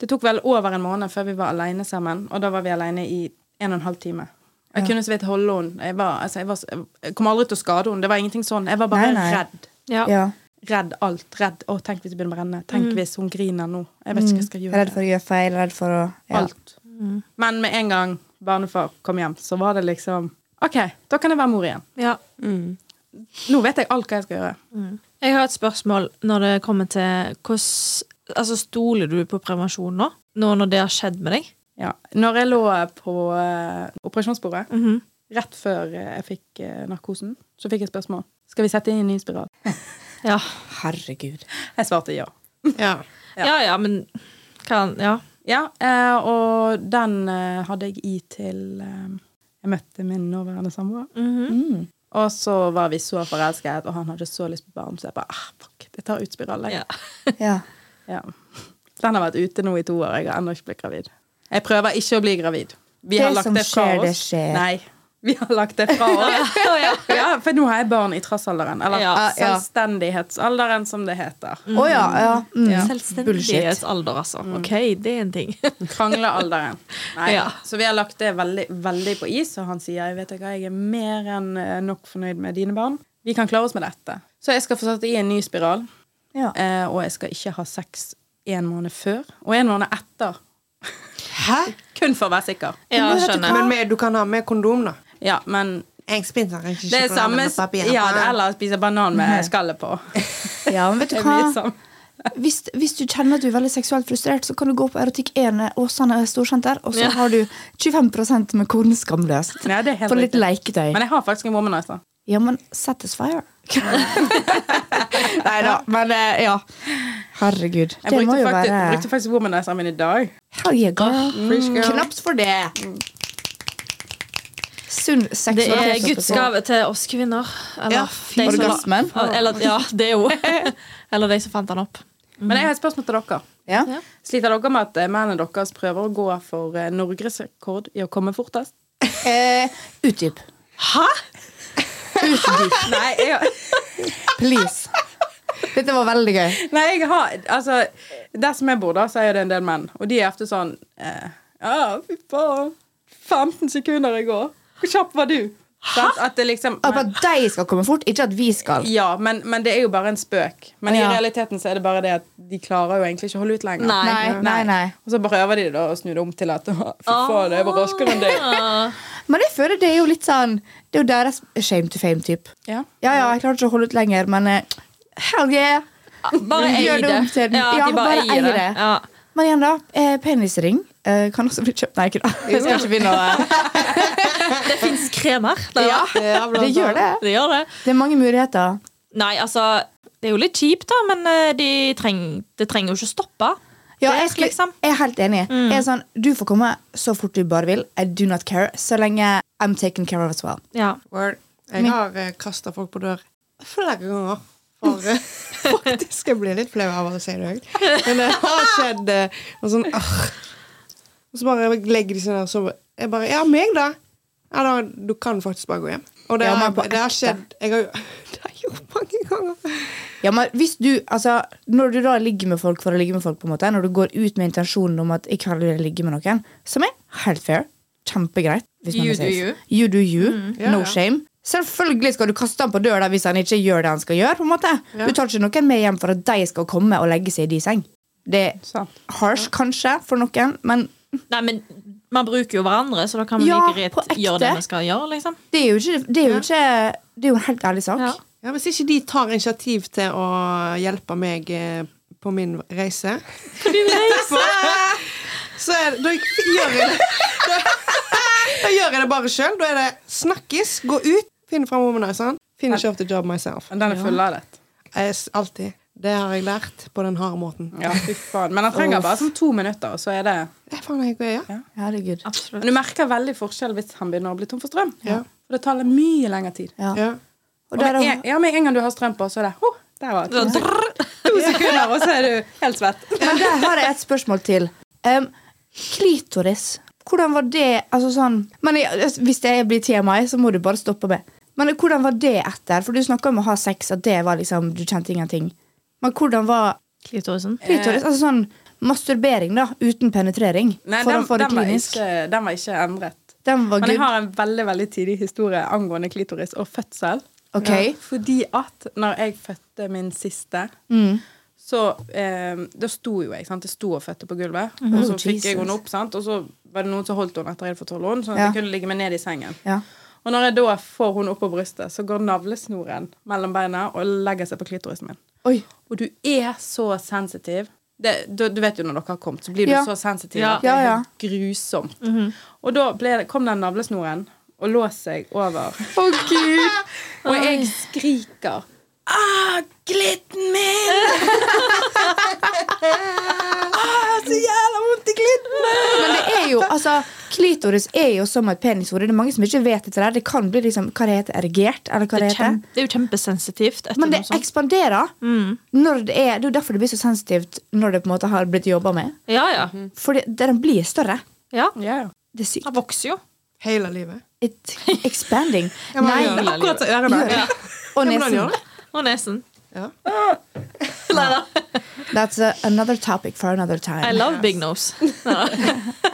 det tok vel over en måned før vi var alene sammen, og da var vi alene i en og en halv time. Jeg kunne så vidt holde henne. Jeg, var, altså, jeg, var, så- jeg kom aldri til å skade henne. Det var ingenting sånn. Jeg var
Nei,
bare
nei.
redd.
Ja.
ja.
Redd alt. Redd. Å, tenk hvis det begynner å brenne. Tenk hvis hun griner nå. Jeg vet ikke hva jeg skal gjøre.
Mm. Redd for å gjøre feil, redd for å ja. Mm.
Alt. Men med en gang barnefar kom hjem, så var det liksom OK, da kan jeg være mor igjen.
Ja.
Nå vet jeg alt hva jeg skal gjøre.
Jeg har et spørsmål når det kommer til hvordan Altså, stoler du på prevensjon nå? Nå når det har skjedd med deg?
Ja. Når jeg lå på eh, operasjonsbordet
Mhm.
rett før eh, jeg fikk eh, narkosen, så fikk jeg spørsmål. Skal vi sette inn en ny spiral?
Ja.
Herregud.
Jeg svarte ja.
Ja.
ja. Ja, men kan, Ja.
Ja, eh, og den eh, hadde jeg i til eh, jeg møtte min nåværende samboer.
Mhm.
Mm. Og så var vi så forelsket, og han hadde så lyst på barn, så jeg bare ah, fuck, jeg tar ut spiralen. jeg."
ja.
Ja.
Ja. Den har vært ute nå i to år. Jeg har ennå ikke blitt gravid. Jeg prøver ikke å bli gravid. Vi
Det
har lagt
som
det fra
skjer, det
oss.
skjer.
Nei, vi har lagt det
[LAUGHS]
fra oss.
Å, [LAUGHS] ja.
ja, for nå har jeg barn i trassalderen. Eller
Ja.
Ja.
selvstendighetsalderen, som det heter.
Å ja. ja. Mm. Bullshit.
Selvstendighetsalder, altså. Ok, det er en [LAUGHS] ting.
Kranglealderen. Nei.
Ja.
Så vi har lagt det veldig, veldig på is, og han sier jeg vet ikke hva, jeg er mer enn eh, nok fornøyd med dine barn. Vi kan klare oss med dette. Så jeg skal få satt i en ny spiral,
Ja.
eh, og jeg skal ikke ha sex en måned før og en måned etter. [LAUGHS]
Hæ?
Kun for å være sikker.
Ja,
Men vet du
skjønner.
Men med, du kan ha med kondom, da.
Ja, men
Jeg spiser ikke
det er
sjokolade
samme
med papir.
Ja, det er eller å spise banan med skallet på.
ja, men vet du
[LAUGHS] Det er mye
hva?
sånn.
hvis, hvis du kjenner at du er veldig seksuelt frustrert, så kan du gå på Erotikk 1 Åsane Storsenter, og så
Ja.
har du 25 med koden skamløst.
Nei, det er helt
For litt
riktig.
leketøy.
Men jeg har faktisk en altså. womanizer.
Ja, men satisfier. Nei da, men eh, ja. Herregud.
Jeg
det må
brukte
jo
faktisk,
være
brukte faktisk womanizeren min i dag.
Hell yeah, girl.
Fresh girl.
Knapt for det. Sunn
Det er
seksualitet.
Guds gave til oss kvinner. Eller,
Ja,
de som-
orgasmen.
Eller, ja, det er jo. [LAUGHS] Eller de som fant den opp.
Men jeg har et spørsmål til dere.
Ja.
Ja.
Sliter dere med at eh, mennene deres prøver å gå for eh, norgesrekord i å komme
[LAUGHS]
fortest?
Eh, utdyp.
Hæ?
Utdyp,
Nei, jeg,
please. Dette var veldig gøy.
nei, jeg har Altså, der som jeg bor, da, så er det en del menn. Og de er ofte sånn eh, Ja, fy faen. 15 sekunder i går. Hvor kjapp var du? Sant? At det liksom
At bare de skal komme fort, ikke at vi skal.
Ja, men, men det er jo bare en spøk. Men
Ja.
i realiteten så er det bare det at de klarer jo egentlig ikke å holde ut lenger.
Nei.
Nei, nei, nei.
Og så prøver de da å snu det om til at [LAUGHS] Fy faen, jeg var raskere
Ah.
enn deg.
Men jeg føler det er jo litt sånn Det er jo deres shame to fame-type.
Ja.
Ja, ja, jeg klarer ikke å holde ut lenger, men eh, hell yeah!
Bare
Gjør
eier
det om
det.
til den. Ja, bare eier det.
Ja.
Men igjen, da. Eh, penisring eh, kan også bli kjøpt. Nei, ikke da. Jeg skal ikke begynne å eh,
Det fins kremer. Det,
Ja, det gjør det.
det gjør det.
Det er mange muligheter.
Nei, altså Det er jo litt kjipt, da, men eh, de treng, det trenger jo ikke stoppe.
Ja,
Det
jeg, skulle,
liksom.
jeg er helt enig. Jeg er sånn, du får komme så fort du bare vil. I do not care. Så lenge I'm taken care of as well.
Ja.
Word. Jeg har uh, kasta folk på dør flere ganger. For eh, [LAUGHS] faktisk jeg blir litt flau av å si det høyt. Men det har skjedd. eh, og sånn «Åh». Og så bare legger de seg ned, og så jeg bare Ja, meg, da? Ja, da, du kan faktisk bare gå hjem. Og det,
Ja,
har,
men på
det har
ekte.
skjedd jeg har, jo- [LAUGHS] Det har jeg gjort mange ganger.
Ja, men hvis du, altså, Når du da ligger med folk for å ligge med folk, på en måte, når du går ut med intensjonen om at i kveld vil jeg ligge med noen, som er helt fair, kjempegreit hvis man
You
vil
do
ses.
you.
You do you.
Ja,
No
ja.
shame. Selvfølgelig skal du kaste han på døra hvis han ikke gjør det han skal gjøre. på en måte. Du tar ikke noen med hjem for at de skal komme og legge seg i din seng. Det er
Sant.
harsh, kanskje, for noen, men
Nei, men man bruker jo hverandre, så da kan man
Ja,
like
på
greit
ekte.
gjøre det man skal gjøre. liksom
det er jo ikke Det er jo, ikke, det er jo en helt ærlig sak.
Ja.
Ja, hvis ikke de tar initiativ til å hjelpe meg eh, på min reise
[LAUGHS]
Så er det, da gjør jeg det [LAUGHS] da, da gjør jeg det bare sjøl. Da er det snakkes, gå ut, finn fram womanizeren. Finish off the job myself.
Men Den er fulladet.
Jeg s- Alltid. Det har jeg lært på den harde måten.
Ja, fy faen. Men den trenger bare sånn to minutter, og så er det
Det er faen jeg ikke ja.
Herregud.
Absolutt.
Men du merker veldig forskjell hvis han begynner å bli tom for strøm.
Ja.
For det tar litt mye lengre tid.
Ja.
Ja.
Og
Og med
der er-
en, ja, med en gang du har strøm på, så er det oh, der var det. To sekunder, og så er du helt svett.
Men der har jeg et spørsmål til. Em, klitoris. Hvordan var det altså sånn, men jeg, Hvis det blir TMI, så må du bare stoppe meg. Men hvordan var det etter? For du snakka om å ha sex, at det var liksom, du kjente ingenting. Men hvordan var
Klitorisen.
klitoris? Altså sånn masturbering, da, uten penetrering.
Eh. Nei,
for
den,
å få det
den, var
klinisk.
ikke, den var ikke endret.
Den var
Men jeg
good.
har en veldig veldig tidlig historie angående klitoris og fødsel.
Ok.
Fordi at når jeg fødte min siste,
Mm.
så eh, Da sto jo jeg. sant? Jeg sto og fødte på gulvet. Og så
Oh,
fikk jeg
Jesus.
henne opp, sant? og så var det noen som holdt henne etter jeg hadde fått holde henne, sånn at
Ja.
jeg kunne ligge meg ned i sengen.
Ja.
Og når jeg da får henne opp på brystet, så går navlesnoren mellom beina og legger seg på klitorisen min.
Oi.
Og du er så sensitiv. Det, du, du vet jo når dere har kommet, så blir du
Ja.
så sensitiv.
Ja.
at Det er
Ja, Mhm. ja.
helt grusomt. Og da ble, det- kom den navlesnoren og lå seg over.
Å, gud!
[LAUGHS] Og jeg skriker Ah, glitten min!
[LAUGHS]
[LAUGHS] ah, så jævla vondt i glitten!
Men det er jo, altså, klitoris er jo som et penishode. Det er mange som ikke vet dette. der. Det kan bli liksom, hva det heter, erigert, eller hva
Det,
det
er
heter.
kjem, det er jo kjempesensitivt. etter
Men det
noe sånt. Mm.
ekspanderer. Når det, er, det er jo derfor det blir så sensitivt når det på en måte har blitt jobba med.
Ja, ja.
Mhm.
For det, den blir større.
ja.
Ja, ja.
Det er sykt.
Han vokser jo.
Hele livet.
It expanding.
men
Nei,
gjør det.
Akkurat så ørene.
gjør det. Og
men den gjør
nesen.
det.
Og nesen.
Ja.
That's a, another topic for another
I
time.
love big
[LAUGHS]
nose.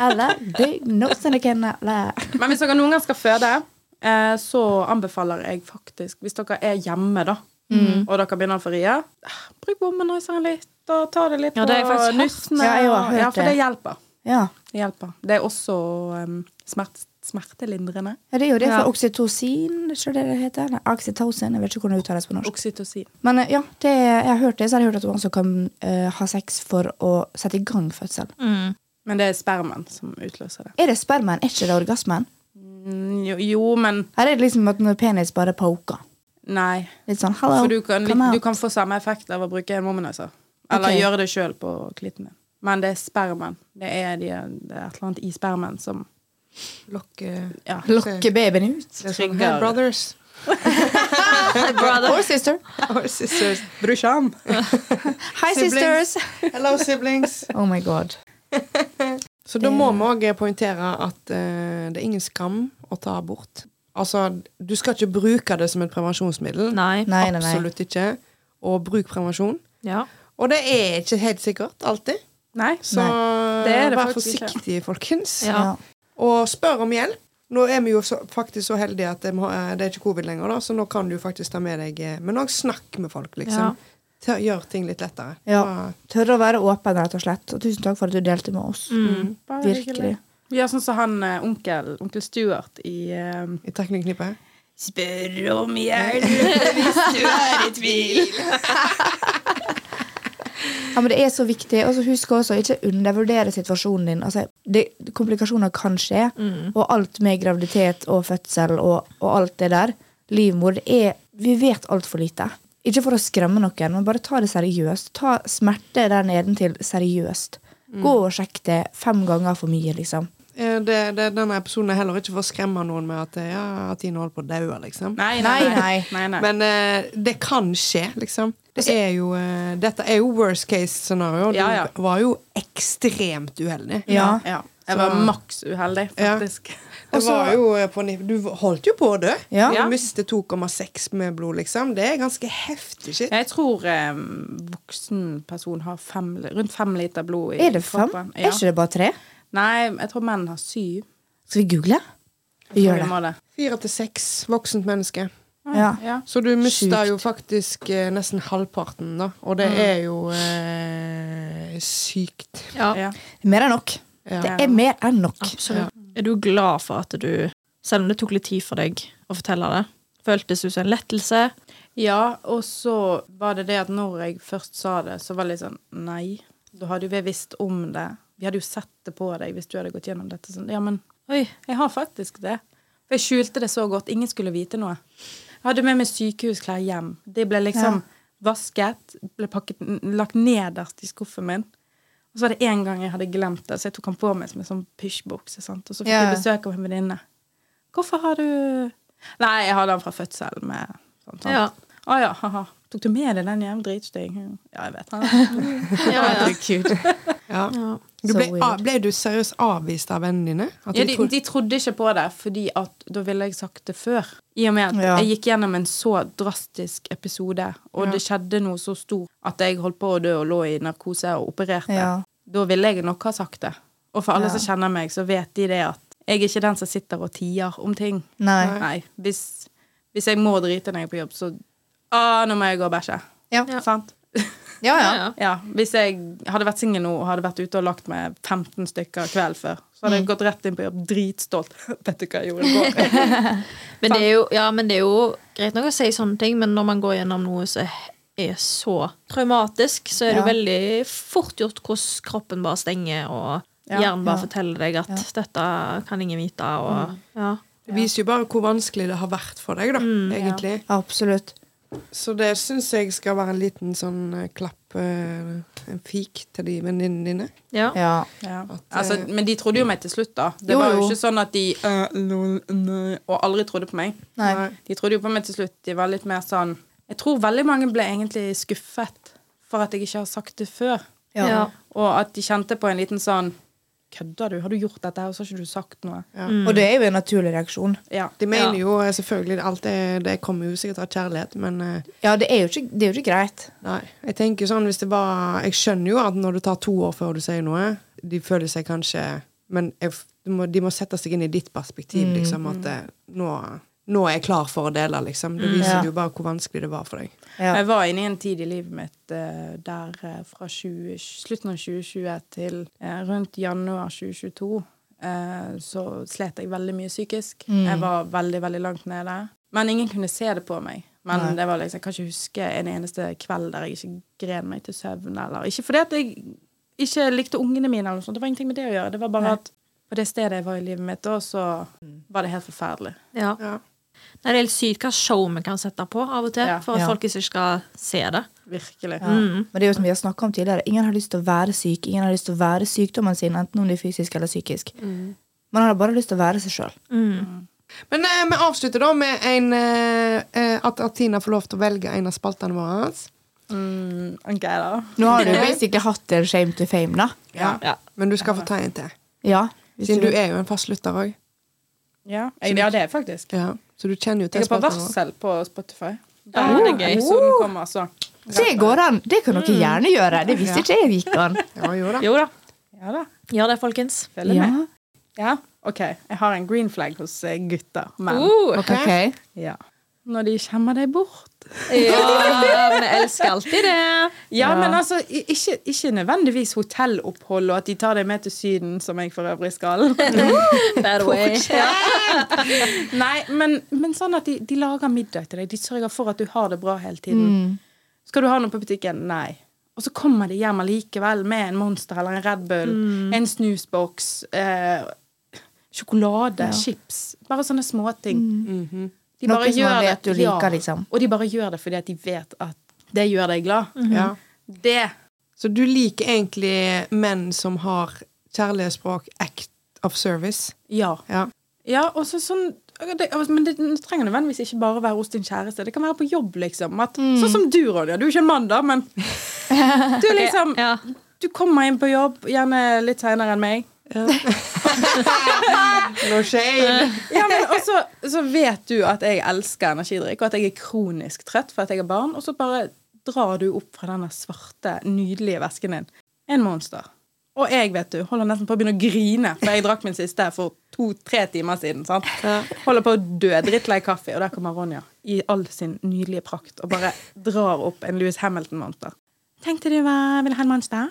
Eller big nose and a can la-
Men hvis dere noen gang skal føde, eh, så anbefaler jeg faktisk Hvis dere er hjemme, da, og dere begynner å få rie, eh, bruk womanizeren litt, og ta det litt
Ja, det har jeg
på
faktisk hørt.
nussene.
Ja, jeg har hørt
ja, for det
det.
hjelper.
Ja.
det hjelper. Det er også um, smert, Smertelindrende.
Ja, det er jo det
Ja.
for oksytocin, ikke det det heter? Nei, oxytocin, jeg vet ikke hvordan det uttales på norsk.
Oksytocin.
Men eh, ja, det, jeg har hørt det, så har jeg hørt at man også kan eh, ha sex for å sette i gang fødsel.
Mm.
Men det er spermen som utløser det.
Er det spermaen, er ikke det orgasmen?
Mm, Jo, jo men
Her er det liksom at når penis bare poker.
nei.
Litt sånn, hello,
For du kan,
come out.
du kan få samme effekt av å bruke en womanizer. Eller
Ok.
gjøre det sjøl på klitten din. Men det er spermen. Det er, de, det er et eller annet i spermen som
Lokke
ja.
[LAUGHS] Lokke babyen ut.
Det eh, er sånn,
Trigger.
Hey, brothers.
Or sister.
Our sisters.
Brusjan.
Hi,
Siblings.
sisters.
Hello, siblings.
Oh my god.
Så da må vi òg poengtere at eh, det er ingen skam å ta abort. Altså, du skal ikke bruke det som et prevensjonsmiddel.
Nei.
Nei, nei, nei.
Absolutt ikke. Og bruk prevensjon.
Ja.
Og det er ikke helt sikkert alltid.
Nei.
Så
Det er det
vær
faktisk ikke.
forsiktig, folkens.
Ja.
Ja.
Og spør om hjelp. Nå er vi jo så, faktisk så heldige at det må- eh, det er ikke covid lenger, da, så nå kan du faktisk ta med deg eh, Men òg snakk med folk, liksom.
Ja.
Ta- Gjør ting litt lettere.
Ja.
Ta-
Tørre å være åpen, rett og slett. Og tusen takk for at du delte med oss.
Bare
Virkelig.
hyggelig. Vi har sånn som han eh, onkel, onkel Stuart i eh,
I teknikknippet.
Spør om hjelp hvis du er i tvil.
Ja, men Det er så viktig. Og så husk også å ikke undervurdere situasjonen din. Altså, det, komplikasjoner kan skje, og alt med graviditet og fødsel og, og alt det der. Livmor det er Vi vet altfor lite. Ikke for å skremme noen, men bare ta det seriøst. Ta smerte der nedentil seriøst. Gå og sjekk det fem ganger for mye, liksom.
Eh, Det, det, denne episoden er heller ikke for å skremme noen med at, eh, ja, at Ine holder på å daue, liksom.
[LAUGHS] Nei,
Nei, nei.
Men eh, det kan skje, liksom. Det er jo, eh, dette er jo worst case scenario. Du
Ja, ja.
var jo ekstremt uheldig.
ja. ja. Jeg var
Så-
maks uheldig, faktisk.
Det
Og så-
var jo eh, på nipp- Du holdt jo på å dø.
Ja.
Du mistet 2,6 med blod, liksom. Det er ganske heftig shit.
Jeg tror eh, voksen person har fem, li- rundt fem liter blod i
Er det fem?
kroppen.
Er ikke det bare tre?
Nei, jeg tror menn har syv.
Skal vi google? Vi gjør det.
Må det.
Fire til seks voksent menneske.
Ja.
Ja.
Så du mista
Sjukt.
jo faktisk eh, nesten halvparten, da. Og det er jo eh, sykt.
Ja.
Ja.
Mer enn nok.
Ja.
Det er mer enn nok.
Absolutt. Er du glad for at du, selv om det tok litt tid for deg å fortelle det, føltes ut som en lettelse?
Ja, og så var det det at når jeg først sa det, så var det litt sånn Nei, da hadde jo vi visst om det. Vi hadde jo sett det på deg hvis du hadde gått gjennom dette. Sånn, ja, men oi, jeg har faktisk det. For jeg skjulte det så godt. Ingen skulle vite noe. Jeg hadde med meg sykehusklær hjem. De ble liksom vasket, ble pakket, lagt nederst i skuffen min. Og så var det en gang jeg hadde glemt det, så jeg tok han på meg som en sånn pysjbukse. sant? Og så fikk
Ja.
jeg besøk av en venninne. 'Hvorfor har du Nei, jeg hadde den fra fødsel med sånn, sånn.
Ja.
Å ja, haha. Tok du med deg den hjem? Dritstygg. Ja, jeg vet
Ja, ja.
det.
Ja. Du
Så
ble,
weird.
av, ble du seriøst avvist av vennene dine? At
Ja,
de
de,
trodde-
de trodde ikke på det, fordi at da ville jeg sagt det før. I og med at
Ja.
jeg gikk gjennom en så drastisk episode, og det skjedde noe så stort at jeg holdt på å dø og lå i narkose og opererte.
Ja.
Da ville jeg nok ha sagt det. Og for alle
Ja.
som kjenner meg, så vet de det at jeg er ikke den som sitter og tier om ting.
Nei.
Nei. Hvis, hvis jeg må drite når jeg er på jobb, så ah, nå må jeg gå og bæsje.
Ja.
Sant?
Ja, ja.
Ja,
Ja, Hvis jeg hadde vært singel nå og hadde vært ute og lagt med 15 stykker kvelden før, så hadde jeg gått rett inn på jobb dritstolt. [LAUGHS] Vet du hva jeg gjorde i går?
Men det, er jo, ja, men det er jo greit nok å si sånne ting, men når man går gjennom noe som er så traumatisk, så er det jo
Ja.
veldig fort gjort hvordan kroppen bare stenger, og
Ja.
hjernen bare
Ja.
forteller deg at 'dette kan ingen vite', og ja.
Det viser jo bare hvor vanskelig det har vært for deg, da, egentlig.
Absolutt.
Så det syns jeg skal være en liten sånn eh, klapp, eh, en fik til de venninnene dine.
ja.
Ja.
Ja.
At,
Altså,
eh,
men de trodde jo meg til slutt, da. Det
Jo,
var jo
jo.
ikke sånn at de eh, lol, nei, og aldri trodde på meg.
Nei.
De trodde jo på meg til slutt. De var litt mer sånn Jeg tror veldig mange ble egentlig skuffet for at jeg ikke har sagt det før.
Ja.
Ja.
Og at de kjente på en liten sånn Kødder du? Har du gjort dette her, og så har ikke du sagt noe?
Og det er jo en naturlig reaksjon.
Ja.
De mener
Ja.
jo eh, selvfølgelig alt det, det kommer jo sikkert av kjærlighet, men eh,
Ja, det er jo ikke, det er jo ikke greit.
nei. Jeg tenker sånn, hvis det var Jeg skjønner jo at når det tar to år før du sier noe, de føler seg kanskje Men jeg, f- du må, de må sette seg inn i ditt perspektiv, liksom. At eh, nå, nå er jeg klar for å dele, liksom. Det
Ja.
viser jo bare hvor vanskelig det var for deg.
Ja.
Jeg var inne i en tid i livet mitt eh, der eh, fra 20, slutten av 2020 til eh, rundt januar 2022 eh, så slet jeg veldig mye psykisk.
Mm.
Jeg var veldig, veldig langt nede. Men ingen kunne se det på meg. Men det var liksom, jeg kan ikke huske en eneste kveld der jeg ikke gren meg til søvn. Eller. Ikke fordi at jeg ikke likte ungene mine, eller noe sånt. det var ingenting med det å gjøre. Det var bare at på det stedet jeg var i livet mitt da, så
Mm.
var det helt forferdelig.
Ja.
Ja.
Nei, det er helt sykt hva show vi kan sette på av og til,
Ja.
for at
Ja.
folk ikke skal se det.
Virkelig.
Mm.
Men det er jo som vi har snakket om tidligere, ingen har lyst til å være syk. Ingen har lyst til å være sykdommen sin, enten om det er fysisk eller psykisk.
Mm.
Man har bare lyst til å være seg sjøl.
Mm.
Men eh, vi avslutter da med en, eh, eh, at, at Tina får lov til å velge en av spaltene våre.
Mm, ok, da.
Nå har du basically hatt en shame to fame, da.
Ja.
Ja.
Men du skal få ta en til.
Ja. hvis
Siden du er jo en fast lytter òg.
Ja, jeg, ja det er jeg faktisk.
Ja. Så du kjenner jo til
Jeg er på Oh.
spaltene våre.
varsel på Spotify. Der er det gøy. Episoden kommer, altså. så.
Det går an! Det kan
Mm.
dere gjerne gjøre. Det visste ikke jeg gikk an.
Ja, jo da.
Jo da.
Ja da.
Gjør det, folkens.
Følg
Ja.
med. Ja, OK. Jeg har en green flag hos eh, gutter. Men
Uh,
Ok.
ja. Når de skjemmer deg bort.
ja, vi elsker alltid det.
Ja, men altså, i- ikke, ikke nødvendigvis hotellopphold og at de tar deg med til Syden, som jeg for øvrig skal. [LAUGHS]
By the way.
Nei, men, men sånn at de, de lager middag til deg. De sørger for at du har det bra hele tiden.
Mm.
Skal du ha noe på butikken? Nei. Og så kommer de hjem allikevel med en Monster eller en Red Bull,
Mm.
en snusboks, eh, sjokolade, chips. Bare sånne småting. De
Noe
bare
Mm. som man
gjør
vet
det-
du liker, liksom.
Og de bare gjør det fordi at de vet at det gjør deg glad.
Mm.
Ja.
Det
Så du liker egentlig menn som har kjærlighetsspråk, act of service?
Ja.
Ja.
Ja, og så sånn det, men det trenger nødvendigvis ikke bare være hos din kjæreste. Det kan være på jobb, liksom. At, Sånn som du, Ronja. Du er ikke en mann, da, men du er liksom
Ja.
Du kommer inn på jobb, gjerne litt seinere enn meg.
No shame!
Ja, men også, så vet du at jeg elsker energidrikk, og at jeg er kronisk trøtt for at jeg er barn. Og så bare drar du opp fra denne svarte, nydelige vesken din en monster. Og jeg vet du, holder nesten på å begynne å grine, for jeg drakk min siste for to-tre timer siden. sant? Holder på å dø, drittlei kaffe, og der kommer Ronja i all sin nydelige prakt og bare drar opp en Louis Hamilton-monster. Tenkte du hva ville ha en monster?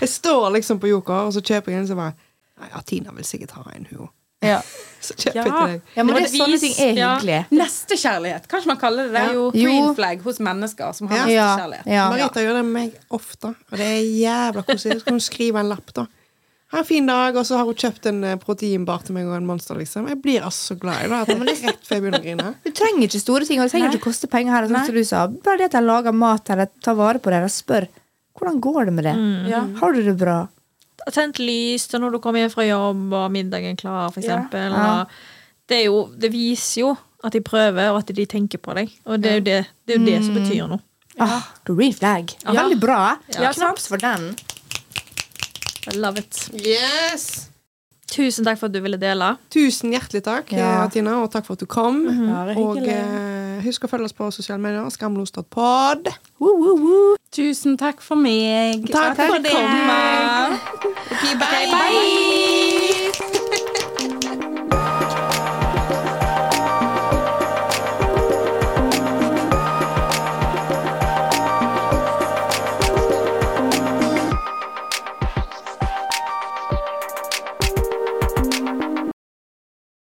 Jeg står liksom på Joker, og så kjøper jeg en som bare Nei, ja, Tina vil sikkert ha en, hun.
Ja.
Så kjøper jeg
Ja.
til deg.
ja, men
Må
det er
det
sånne
vis-
ting er
ja.
hyggelige.
Nestekjærlighet. Kan ikke man kalle det det?
Ja.
Jo,
Jo.
green flag hos mennesker som har
Ja.
nestekjærlighet.
Ja.
Marita gjør det med meg ofte, og det er jævla koselig. Så kan hun skrive en lapp, da. Ha en fin dag, og så har hun kjøpt en eh, proteinbar til meg og en Monster, liksom. Jeg blir altså så glad i det at det er rett før jeg begynner å grine.
Du trenger ikke store ting, og det trenger ikke koste penger. her sånn som du sa. Bare det at jeg lager mat eller tar vare på det, eller spør hvordan går det med det.
Mm. Ja.
Har du det bra?
Tent lys til når du kommer hjem fra jobb, og middagen klar, for
Ja.
eksempel.
Ja.
Og Det, er jo, det viser jo at de prøver, og at de tenker på deg. Og det er jo det, det, er jo det som betyr noe.
Ah, green flag. Veldig bra.
Ja,
Knaps for den.
I love it.
Yes!
Tusen takk for at du ville dele.
Tusen hjertelig takk,
Ja. Mm-hmm.
eh, Tina, og takk for at du kom.
Bare
Og
hyggelig.
eh, husk å følge oss på sosiale medier. Skamlos.pod.
Woo, woo, woo.
Tusen takk for meg.
Takk for
det.
deg. Ok, bye.
Bye.